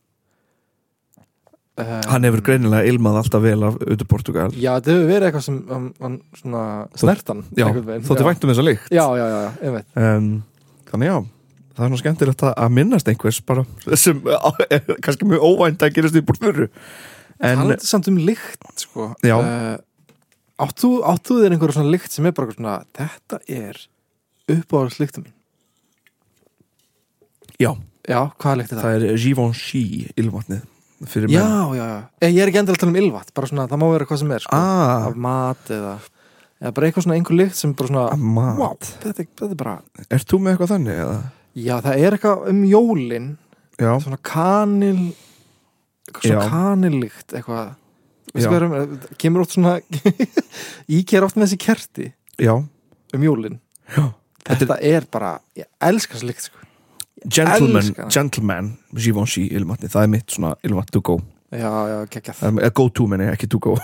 uh, hann hefur greinilega ilmað alltaf vel af auðvitað Portugal Já, þetta hefur verið eitthvað sem um, hann svona snertan já, þóttu vænt um þessa líkt Já, já, já, já, einmitt um, þannig já það er nú skemmtilegt að- að minnast einhvers bara, sem á- er kannski mjög óvænt að gerast í bortfuru Hann en er samt um lykt sko Já. Eh, átt þú Áttu þér einhverja svona lykt sem er bara eitthvað svona Þetta er uppáhalds lyktum mín já, Já, hvaða lykt er það? það er Givenchy ilmvatnið fyrir já, menn já, já, Eh, ég er ekki endilega að tala um ylvat Bara svona, það má vera hvað sem er sko ah, Af mat eða Eða bara eitthvað svona einhver lykt sem bara svona mat Vá, þetta, er- þetta er bara ert þú með eitthvað þannig? Eða? Já, það er eitthvað um jólin já, Svona kanil eitthvað Svona Já. kanillikt eitthvað Veistu Já. hvað er um, það kemur oft svona Ég ger oft með þessi kerti já um jólin Já. Þetta er bara, ég elska þessi lykt sko. Gentleman, Elska það. gentleman Givenchy ilmvatnið, það er mitt svona ilmvatn to go, Já, já, geggjað um, go to meni, ekki to go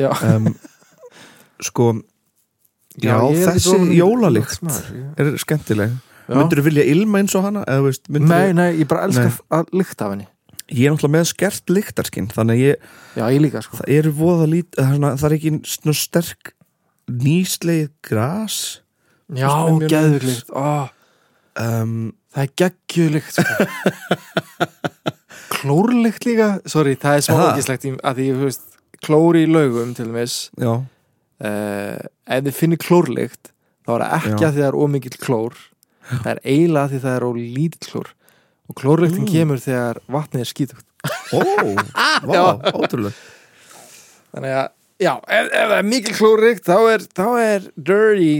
Já, um, sko ég já, er ekki þessi ofan í jólalykt. lykt, maður, ég- er skemmtileg Já. myndur þú vilja ilma eins og hana eða, þú veist, Nei, myndirðu- nei, ég bara elska Nei. að lykta af henni ég er náttúrulega með skert lyktarskinn þannig að ég, Já, ég líka sko það eru voða lít það er, svona, það er ekki svona sterk nýslegið gras Já, Þú veist, mér- geðviglikt Ó, um, Það er geggjulikt sko. Klórlikt líka Sorry, það er smá Er það? ógislegt að því, þú veist, klóri í laugum til dæmis já, uh, ef þið finnir klórlikt þá er það ekki Já. að því það er ómikill klór það er eiginlega að því það er ólítill klór og klórliktin Mm. kemur þegar vatnið er skítugt ó, vá, ótrúlega þannig að, já, ef, ef það er mikil klórlikt þá er, þá er dirty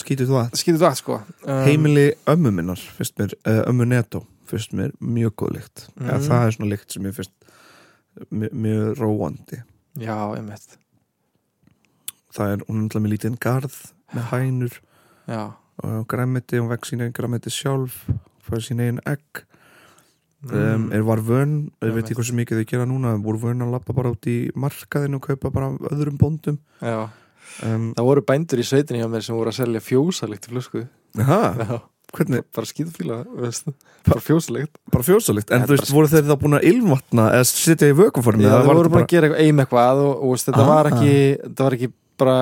skýtur þú að skítugt vatn, sko um, heimili ömmu minnar, finnst mér uh, ömmu neto, finnst mér mjög góð lykt Mm. mm. það er svona lykt sem ég finnst mjög, mjög róandi Já, einmitt það er, hún er náttúrulega með lítinn garð með hænur Já, og græmiti, hún vekk sín einn græmiti sjálf fæði sín einn egg um, Mm, er var vön, ég veit ekki hversu mikið þau gera núna voru vön að lappa bara út í markaðinu og kaupa bara af öðrum bóndum já um, Það voru bændur í sveitinni hjá mér sem voru að selja fjósalikt í flösku aha, Já, hvernig, bara skýðfíla, veist Bara fjósalikt bara fjósalikt en Það er þú bara veist, voru þeir þá búin að ilmvatna eða setja í vökuformi Já, eða það var voru þetta bara að gera eitthvað eim eitthvað og, og veist, þetta, Ah. var ekki, þetta var ekki bara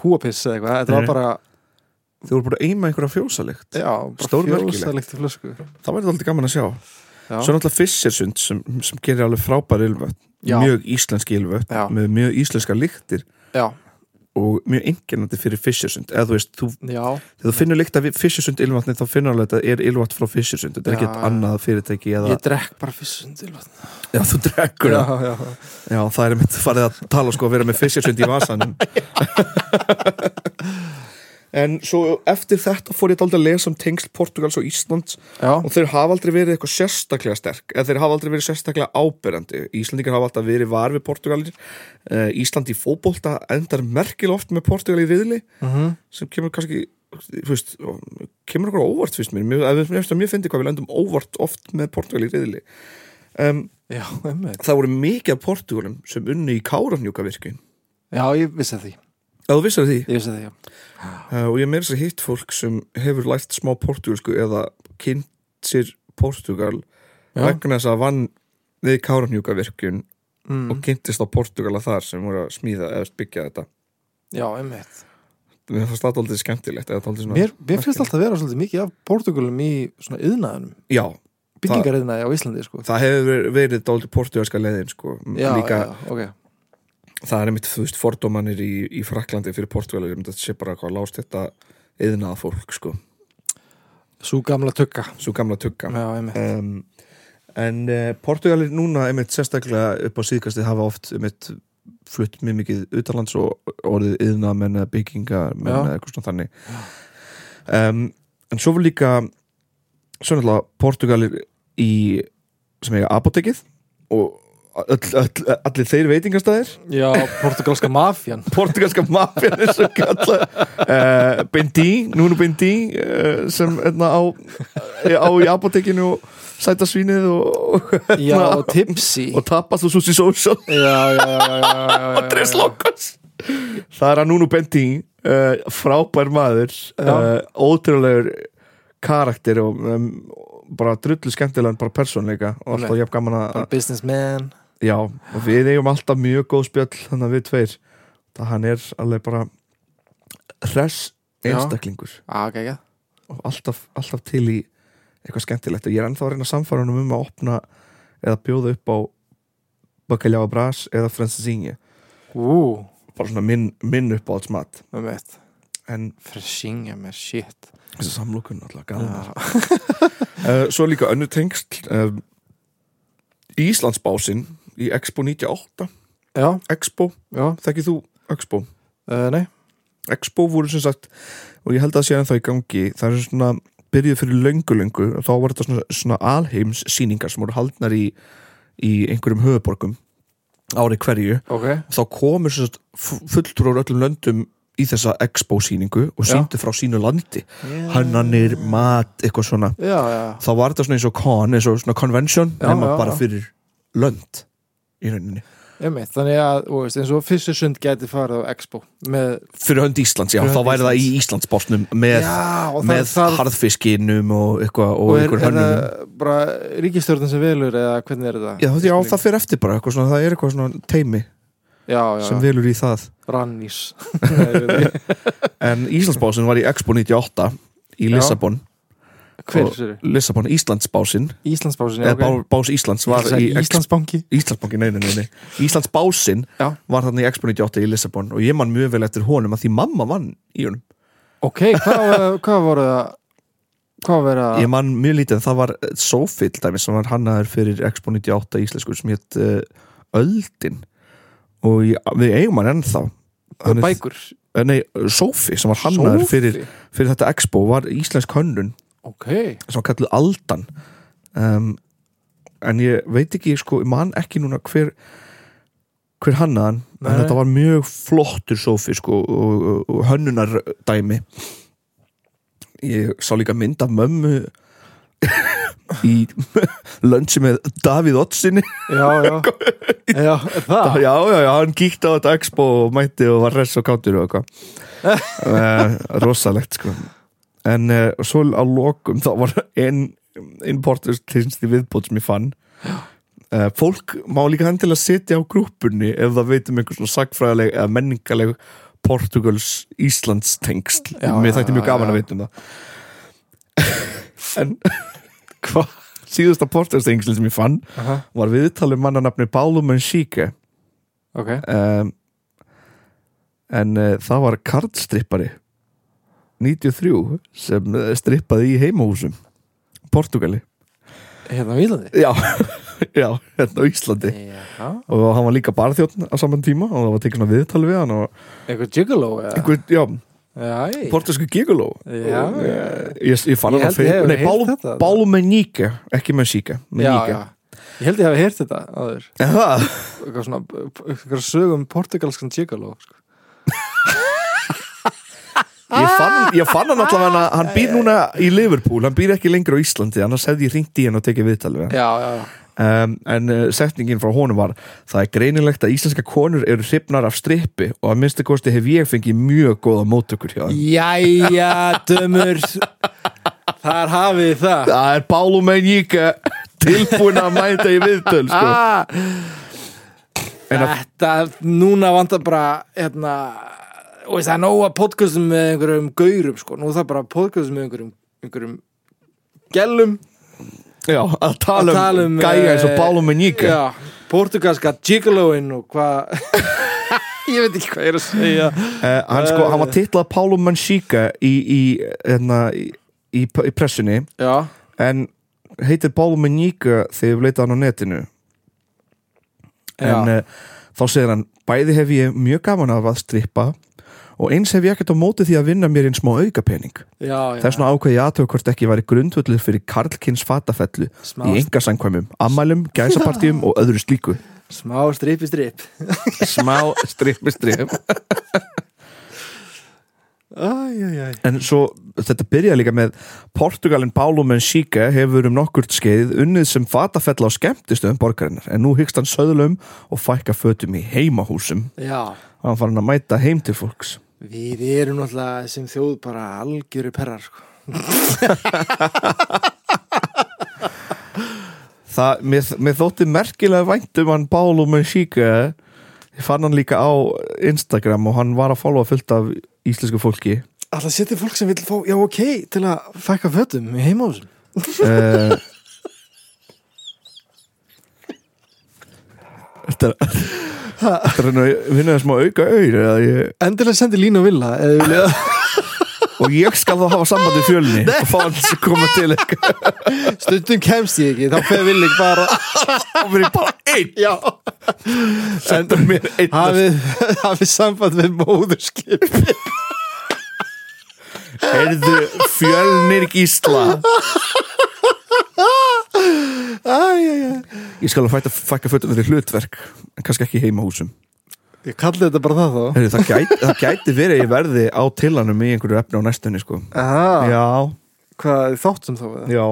kúapiss eða eitthvað Þetta Nei. var bara, þeir voru bara að eima einhverja fjósalikt já, bara Stórmerkilegt. fjósalikt í flösku það væri alltaf gaman að sjá Já, svo er náttúrulega Fissersund sem, sem gerir alveg frábær ilmvötn Já. mjög íslenski ilmvötn Já. með mjög íslenska lyktir já, og mjög einkennandi fyrir Fissersund eða þú veist, þú já, þegar þú finnur líkt af Fissursund ilvatni þá finnur alveg að þetta er ilvat frá Fissursund þetta er Já, ekkert já. annað fyrirtæki eða, ég drekk bara fyrstund já, þú drekkur Já, það já, já, það er mitt farið að tala sko að vera með Fissursund í vasanum en svo eftir þetta fór ég dálítið að lesa um tengsl Portugals og Íslands já, og þeir hafa aldrei verið eitthvað sérstaklega sterk eða þeir hafa aldrei verið sérstaklega áberandi Íslandingar hafa alltaf verið var við Eh, Portugalir uh, Ísland í fótbolta endar merkil oft með Portugal í riðli mhm, sem kemur kannski þú veist, kemur okkur á óvart fyrst mér, mér, mér, mér, mér finnst hvað við lendum óvart oft með Portugal í reyðli um, Já, einmitt það voru mikið af Portugalum sem unni í Kárafnjúka virkin Já, ég vissi það því, eða þú vissar því ég vissi það því, já uh, og ég meira þess að segja hitt fólk sem hefur lært smá portugalsku eða kynnt sér Portugal Já. vegna þess að vann við Kárafnjúka virkun mm. og kynntist á Portugala þar sem voru að smíða eða byggja þetta Já, einmitt mér fannst það aldrei skemmtilegt eða dálítið svona- Mér, mér finnst alltaf að vera svolítið mikið af Portugalum í svona yðnaðunum, já, byggingariðnaði á Íslandi sko. það hefur verið dálítið portugalska leiðin sko. Já, líka, já, ok það er einmitt, þú veist, fordómanir í, í Fraklandi fyrir Portugal, ég myndi að sé bara hvað lást þetta yðnaða fólk, sko Sú gamla tugga svo gamla tugga Já, einmitt um, en uh, Portugalir núna einmitt sérstaklega upp á síðkastið hafa oft einmitt flutt mjög mikið utanlands og orðið yðna menn eða byggingar menn Já. eða eitthvað svona þannig um, en svo var líka svo náttúrulega Portugalir í sem eiga apotekið og öll, öll, allir þeir veitingastæðir Já, portugalska mafjan portugalska mafjan eins og kalla uh, Bindi, Nuno Bindi uh, sem hérna á á í apotekinu og sæta svínið og, Já, og tipsi og tapast og súsi sósal Já, já, já, já, já, já, já. Andrés Lókos það er að Nuno Bindi uh, frábær maður uh, ótrúlegur karakter og um, bara drullu skemmtilegan bara persónleika og alltaf Nei. jafn gaman Bara að Businessman já, og við eigum alltaf mjög góð spjöll þannig að við tveir það hann er alveg bara hress Já. einstaklingur ah, okay, yeah. og alltaf, alltaf til í eitthvað skemmtilegt og ég er ennþá að reyna að samfara honum um að opna eða bjóða upp á bakaljá brás eða fransisingi Ú, um bara svona minn, minn uppáhaldsmat einmitt en Freshingja með shit Ah. þessi samlokun alltaf gæðan Já, uh, svo líka önnu tengst uh, Íslandsbásin í Expo 98 já, Expo, já þekkið þú Expo? uh, Nei, Expo voru sem sagt og ég held að sé að það í gangi það er svona byrjuð fyrir löngu-löngu og þá var þetta svona, svona alheims síningar sem voru haldnar í, í einhverjum höfuborgum ári hverju ok þá komur sem sagt fu- fulltrúar úr öllum löndum í þessa Expo síningu og Já. síndu frá sínu landi hannanir, mat, eitthvað svona Já, já, þá var þetta svona eins og con, eins og svona convention Já, nema já, bara já. fyrir lönd í rauninni, einmitt um Þannig að, þú veist, eins og fyrstu sund gæti farið á Expo með, fyrir hönd Íslands já, Fyrir hönd þá væri það í Íslands. Íslandsbásnum með Já, og það- með það- harðfiskinum og eitthvað og, Og er, einhver er hönnunum það bara ríkistjórnum sem velur eða hvernig er þetta? já, það, já, það fyrir eftir bara, eitthvað svona, það er eitthvað svona teimi já, já, sem já. velur í það Rannís Nei, ég veit ekki. en Íslandsbásin var í Expo 98 í Já. Lissabon Hver Og- sér? Lissabon, Íslandsbásin Íslandsbásin, já, eða ok bá, bás Íslands var í Expo Íslandsbanki Íslandsbanki, nei, nei, nei, nei. Íslandsbásin Já. var þannig í Expo 98 í Lissabon og ég man mjög vel eftir honum að því mamma vann í honum Ok, hvað, uh, hvað voru það Hvað verið að ég man mjög lítið, það var eh, Sofill dæmi sem var hannaður fyrir Expo 98 íslensku sem hétt uh, Öldin og ég, við eigum hann ennþá Hann er- Bækur eh, Nei, Sofi sem var hannaður Sophie? fyrir, fyrir þetta Expo var íslensk hönnun Ok, sem var kalluð Aldan um, en ég veit ekki sko, ég man ekki núna hver hver hannaðan Nei. en þetta var mjög flottur Sofi sko, og, og, og hönnunardæmi ég sá líka mynd af mömmu í lönsi með Davíð Ottsinni já, já Já, það já, já, já, hann kíkti á þetta expo og mætti og var hress og kátur og eitthvað uh, rosalegt sko en uh, svo á lokum þá var einn importus tilsynsli viðbót sem ég fann uh, fólk má líka hann til að sitja á grúpunni ef það veit um einhver svona sagfræðileg eða menningaleg Portugals Íslands tengsl Já, mér já, þætti já, mjög gaman já. að veit um það en hvað síðasta Portugals tengsl sem ég fann Aha, var viðtalið mannanafni Paulo Manchique Ok, um, en uh, það var kardstrippari 93 sem eh, strippaði í heimahúsum Portugali hérna á Íslandi já, já, hérna á Íslandi Já, og hann var líka barþjótt á saman tíma og það var tekið svona viðtal við hann og eitthvað gigolo eða? einhver, já, Já, ég- portugalsku gigolo Já, og, eh, ég, ég fann Ég held ég hann á hef Facebook- nei, heyrt Paulo- þetta. Paulo Meníke ekki Meníke já, já Ég held ég hafi heyrt þetta áður það Eitthvað um svona, eitthvað sögum portugalskan gigolo sko. Ég fann, ég fann hann allavega að hann býr núna í Liverpool, hann býr ekki lengur á Íslandi annars hefði ég ringt í hann og tekið viðtal við hann já, já, já. um, en uh, setningin frá honum var það er greinilegt að íslenska konur eru hrifnar af strippi og að minnsta kosti hef ég fengið mjög góða mótökur hjá þeim Jæja, dömur Þar hafið þið það það er Pálu Menjíka tilbúin að mæta í viðtöl sko. En að- Þetta, núna vantar bara hérna, og veist, það er nóga podcastum með einhverjum gaurum, sko nú er það bara podcastum með einhverjum, einhverjum gellum Já, að tala um, að tala um gæja eins og eh, Pálu Menjíka Já, portugalska gigoloinn og hvað Ég veit ekki hvað ég er að segja Uh, hann, sko, hann var titlað Pálu Menjíka í, í, hérna, í, í, í pressunni Já, en heitir Pálu Menjíka þegar við leita hann á netinu já, en uh, þá segir hann bæði hef ég mjög gaman af að strippa og eins hef ég ekkert á móti því að vinna mér einn smá aukapening já, já. þess vegna ákveði ég aðtöku hvort ekki væri grundvöldur fyrir karlkins fatafellu Smá- í engasangkvæmum, ammælum, gæsapartíum og öðru slíku smá stripi strip smá strippi strip Æj, æj, æj en svo þetta byrja líka með Portugalin Paulo Menchica hefur um nokkurt skeið unnið sem fatafella á skemmtistöðum borgarinnar en nú hyggst hann söðlum og fækka fötum í heimahúsum Já, og hann farin að mæta heim til fólks við erum náttúrulega sem þjóð bara algjöru perrar sko. Það, mér, mér þótti merkilega vænt um hann Pálu Menchíka ég fann hann líka á Instagram og hann var að followa fullt af íslensku fólki Alltaf setið fólk sem vil fá, já ok, til að fækka fötum í heimahúsum uh, Þetta er Þetta er hann að vinna þess maður auka auður eða ég, Endilega sendi Línu og Villa eða við vilja og ég skal þá hafa sambandi fjölni og fá hann sem koma til eitthvað Stundum kemst ég ekki, þá fer Villig bara og verið bara einn Já, sendur mér einn hafið hafi samband við móðurskip heyrðu fjölnir gísla Æj, æj, æj ég skal að fækka, fækka fötum fyrir hlutverk en kannski ekki í heimahúsum Ég kalli þetta bara það þá Heyrðu, það, gæti, það gæti verið að ég verði á tillanum í einhverju efni á næstunni sko. Aha, já, hvað þáttum þá við það? já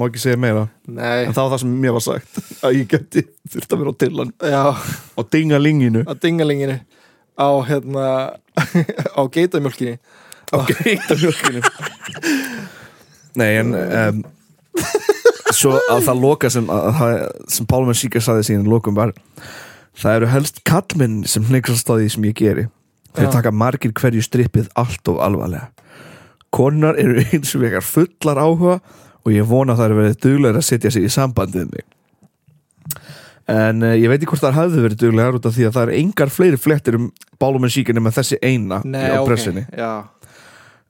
má ekki segja meira Nei, en það var það sem mér var sagt að ég gæti þurft að vera á tillan já, á dingalinginu á dingalinginu á hérna á geitamjölkinni á geitamjölkinu nei en um, svo að það loka sem, að, það- sem Pálmenn Sýka saði síðan í lokum var það eru helst kallmenn sem hneikrast á því sem ég geri þeir Já. taka margir hverju strippið allt of alvarlega konar eru eins og vegar fullar áhuga og ég vona að það eru verið duglegar að setja sig í sambandið mig en uh, ég veit ekki hvort það hafði verið duglegar út af því að það er engar fleiri flettir um Bálumenn Sýka nema þessi eina Nei, á ok, pressinni já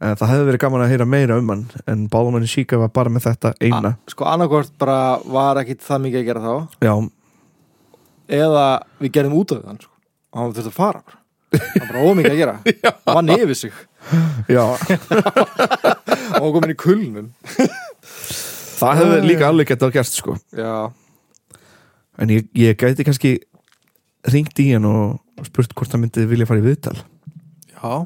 Eh, Það hefði verið gaman að heyra meira um hann en Bálumann Sjíka var bara með þetta eina Sko annarkvort bara var ekkit það mikið að gera þá Já, eða við gerðum út af þann sko. og hann þurfti að fara bara. hann bara ómikið að gera hann vann yfir sig já og hann kom inn í kulnun Það hefði líka alveg getað gerst sko já, En ég, ég gæti kannski ringt í hann og spurt hvort hann myndi vilja fara í viðtal já,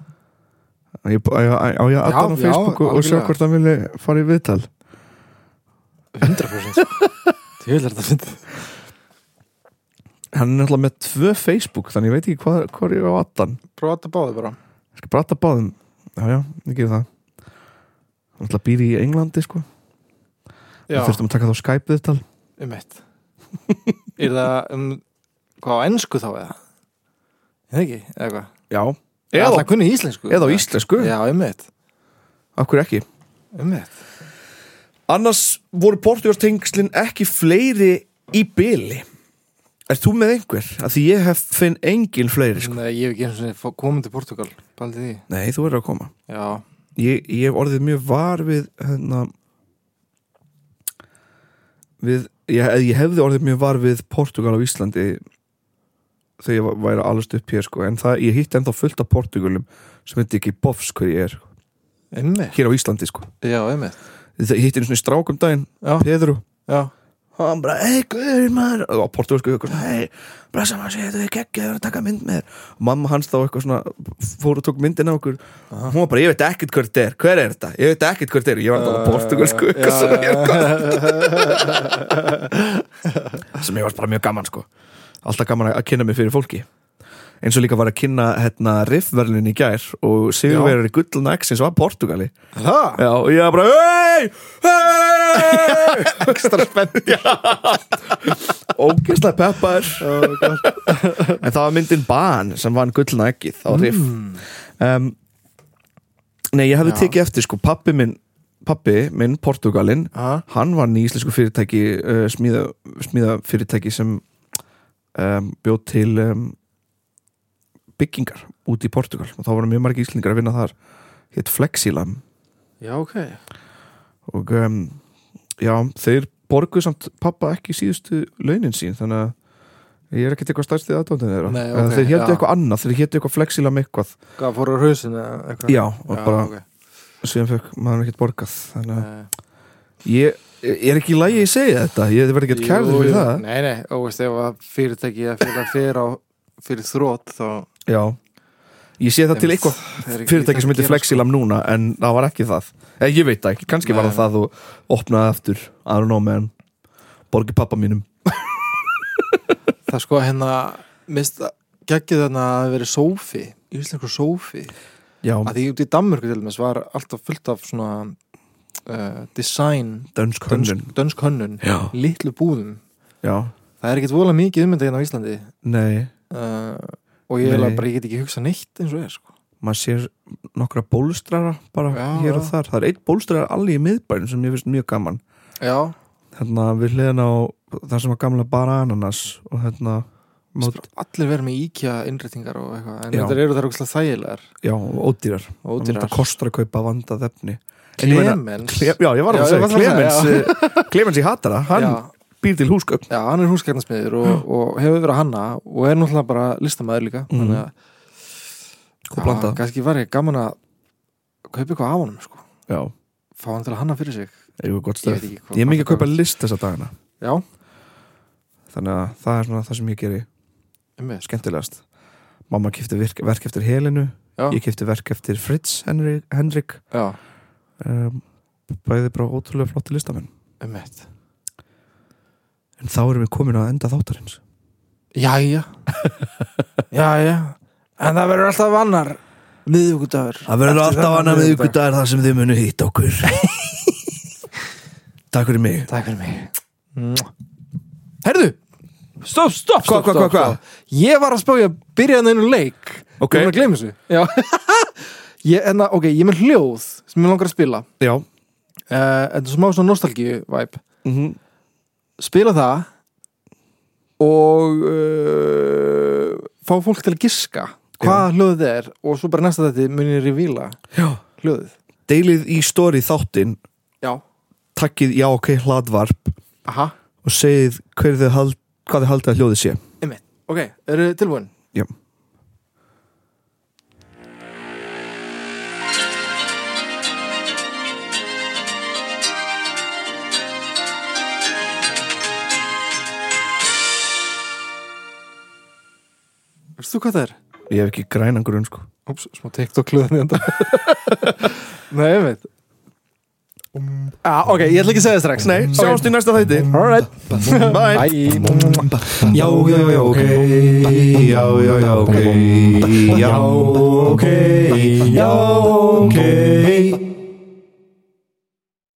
Ég, á, ég- á ég að Já, hann á já, Facebook og, og sjá algjörlega. hvort hann vilja fara í viðtal 100% sko. því vil þetta fyndi Hann er náttúrulega með tvö Facebook þannig ég veit ekki hvað, hvað er ég á addan prófa þetta báði bara Ég skal brata báðum Já, já, ég gerir það Hann náttúrulega býr í Englandi sko já, Þurftum að taka þá Skype viðtal um eitt er það um hvað á ennsku þá eða eða ekki, eða hvað Já, eða eða, alltaf kunni íslensku eða á íslensku já, um eitt, Akkur ekki um eitt Annars voru portugalstengslin ekki fleiri í byli Er þú með einhver? Af því ég hef finn engin fleiri sko. Nei, ég hef ekki eins og sinni komin til Portugal bæði því, Nei, þú verður að koma já, Ég, ég hef orðið mjög var við hérna við, ég, eða ég hefði orðið mjög var við Portugal á Íslandi þegar ég var- væri allast upp hér sko. en það, ég hitti ennþá fullt af Portugalum sem veit ekki bofs hver ég er sko. um eitt hér á Íslandi sko. já, um eitt, Ég hitti einu svona strákum um daginn já, Pedro já, Hann og hann bara, hei guður maður og á portugalsku eitthvað svona, hei blessa maður segja þetta er geggja, það er að taka mynd með þér og mamma hans þá eitthvað svona fór og tók myndin á okkur hún var bara, ég veit ekkert hver þetta er, hver er þetta ég veit ekkert hver þetta er, ég var alltaf á portugalsku eitthvað svona, ég var sem ég var bara mjög gaman sko alltaf gaman að kynna mig fyrir fólki eins og líka var að kynna hérna riffverlun í gær og sigurverður í gullna X-ins var Portugali Það? Já, og ég var bara Hei, hei Ekstra spennt Ógeðslega peppar En það var myndin Ban sem vann gullna ekkið á riff um, Nei, ég hefði Mm. Já. tekið eftir sko Pappi minn, pappi minn Portugalinn Aha. Hann vann í íslensku fyrirtæki uh, smíða, smíða fyrirtæki sem um, bjóð til um, byggingar út í Portugal og þá voru mjög margir íslendingar að vinna þar hétt Flexilam Já, ok og um, já, þeir borguð samt pappa ekki síðustu launin sín þannig að ég er ekkert eitthvað stærsti aðdóndin þeirra Nei, En ok, þeir hétu já. eitthvað annað, þeir hétu eitthvað flexila með eitthvað Hvað fór á hausin eða eitthvað? já, og bara ok. Eh, síðan fekk maður ekkert borgað þannig að Nei. ég, ég er ekki í lagi að segja þetta ég verði ekkert kærður Jú, jú. fyrir það Nei, nei, og veist ef að fyrirtæki að fyrir að fyrir á fyrir þrótt þá já, ég sé það til Einmitt. eitthvað það er ekki fyrirtæki neitt að sem heitir gera, Flexilam núna en það var ekki það, en ég veit það ekki kannski var Nei, það það og opnaði aftur I don't know man, borgi pappa mínum sko. Það er sko hérna mist geggið þarna að það hafi verið sófi Íslengur sófi já, að því út í Danmörku til þess var alltaf fullt af svona uh, design dönsk hönnun dönsk, dönsk hönnun já, litlu búðum já það er ekkert vola mikið ummynda hérna á Íslandi Nei, uh, og ég, eiginlega Nei. bara, ég get ekki hugsað neitt eins og er sko. maður sér nokkra bólstrara bara Já, hér og já. þar það er eitt bólstrara allir í miðbænum sem ég finnst mjög gaman já, hérna við hliðin á það sem var gamla bara ananas og hérna mót, allir verið með íkja innréttingar og eitthvað en Já. þetta eru þar ógslag þægilegar já, og ódýrar og Þannig að ódýrar þetta kostar að kaupa vandað efni En ég meina- Clemens Cle- já, ég var Já, að ég segja, var að segja, Clemens eh, Clemens í Hattara, hann já, býr til húsgögn já, hann er húsgjarnasmiður og, og hefur verið að hanna og er náttúrulega bara listamaður líka Mhm. þannig að Góð Já, blanda. kannski var ég gaman að kaupa eitthvað af honum sko. já, fá hann til að hanna fyrir sig ég er gott ég stöð veit ekki hvað ég er mikið að kaupa list þessa dagina já, þannig að það er svona það sem ég geri um skemmtilegast mamma kipti verk, verk eftir Helinu já, ég kipti verk eftir Fritz Henrik, Henrik já, um, bæði bara ótrúlega flotti listamenn um en þá erum við komin að enda þáttarins Jæja Jæja En það verður alltaf annar miðvíkudagur það verður Eftir alltaf þennan annað með ykkur miðvikudag. dagar þar sem þið munu hitt okkur takk fyrir mig Takk fyrir mig Herðu Stopp, stopp, Hva, stopp, hva, hva, stopp, hva? stopp. Ég var að spá ég að byrja hann einu leik Ok. Ég er búin að gleyma þessu Já ég, en, það- Ok, ég er með hljóð sem ég langar að spila já, Eh, Þetta er smá svona nostalgíu-væp mm Spila það og uh, fá fólk til að giska hvað hljóðið er og svo bara næsta þetta munir í vila já. hljóðið deilið í stóri þáttin Já takkið já ok hladvarp Aha, og segið hver þið hald, hvað þið haldið að hljóðið sé einmitt. Ok, eru tilbúin? já Veist þú hvað það er? ég hef ekki grænan grunn sko Úps, smá TikTok hljóðan í enda. Nei, einmitt. Ah, ok, ég ætla ekki að segja það strax. nei, Ok. sjáumst í næsta þætti Alright. bye Bye. Já, já, já, ok Já, já, já, ok Já, ok Já, ok